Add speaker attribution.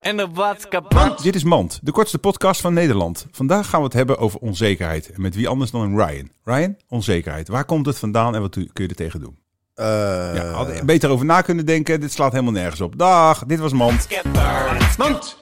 Speaker 1: en de Watskapant.
Speaker 2: Dit is Mand, de kortste podcast van Nederland. Vandaag gaan we het hebben over onzekerheid. En met wie anders dan een Ryan. Ryan, onzekerheid. Waar komt het vandaan en wat kun je er tegen doen? Ja, had er beter over na kunnen denken. Dit slaat helemaal nergens op. Dag, dit was Mand.
Speaker 1: Mand.